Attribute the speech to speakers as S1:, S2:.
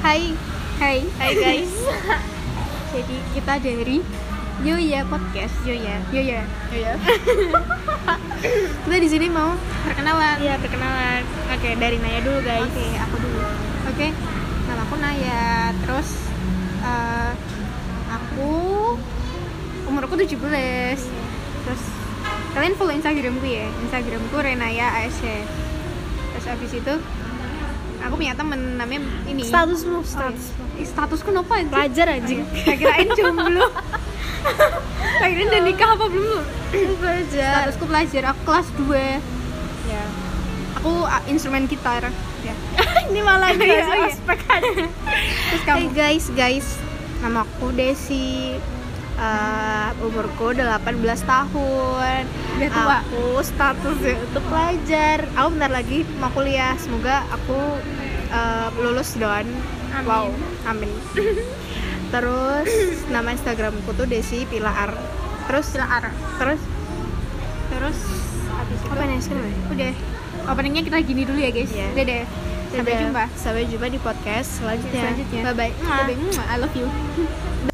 S1: Hai, hai,
S2: Hai guys.
S1: Jadi kita dari Yoya Podcast.
S2: Yoya.
S1: Yoya,
S2: Iya.
S1: kita di sini mau perkenalan.
S2: Iya, perkenalan. Oke, dari Naya dulu
S1: Oke,
S2: guys.
S1: aku dulu. Oke, nama aku Naya. Terus eh, aku umurku 17.
S2: Iya.
S1: Terus kalian follow Instagramku ya. Instagramku Renaya ASC. Terus abis itu aku punya temen namanya ini.
S2: Status lu,
S1: Oh, iya.
S2: status.
S1: Ih, statusku kenapa anjing?
S2: Pelajar anjing.
S1: Saya kirain jomblo. Kirain udah nikah apa belum?
S2: Pelajar.
S1: Statusku pelajar, aku kelas 2.
S2: Ya.
S1: Aku uh, instrumen gitar. Ya.
S2: Ini malah
S1: Iya,
S2: dikasih
S1: iya.
S2: ospek aja.
S1: Terus
S3: Hai
S1: kamu?
S3: guys, guys. Nama aku Desi. Eh, umurku udah 18 tahun.
S1: Udah tua.
S3: Aku status itu pelajar. Aku bentar lagi mau kuliah. Semoga aku eh, lulus don.
S2: Amin.
S3: Wow, amin. Terus nama Instagramku tuh Desi Pilar. Terus
S1: Silakan.
S3: terus
S1: Terus habis itu
S3: apa nih Instagram?
S1: udah openingnya kita gini dulu ya guys.
S3: Iya.
S1: Dadah. Sampai
S3: Dadah.
S1: jumpa.
S3: Sampai jumpa di podcast selanjutnya.
S1: Selanjutnya.
S3: Bye bye.
S1: Bye bye. I love you.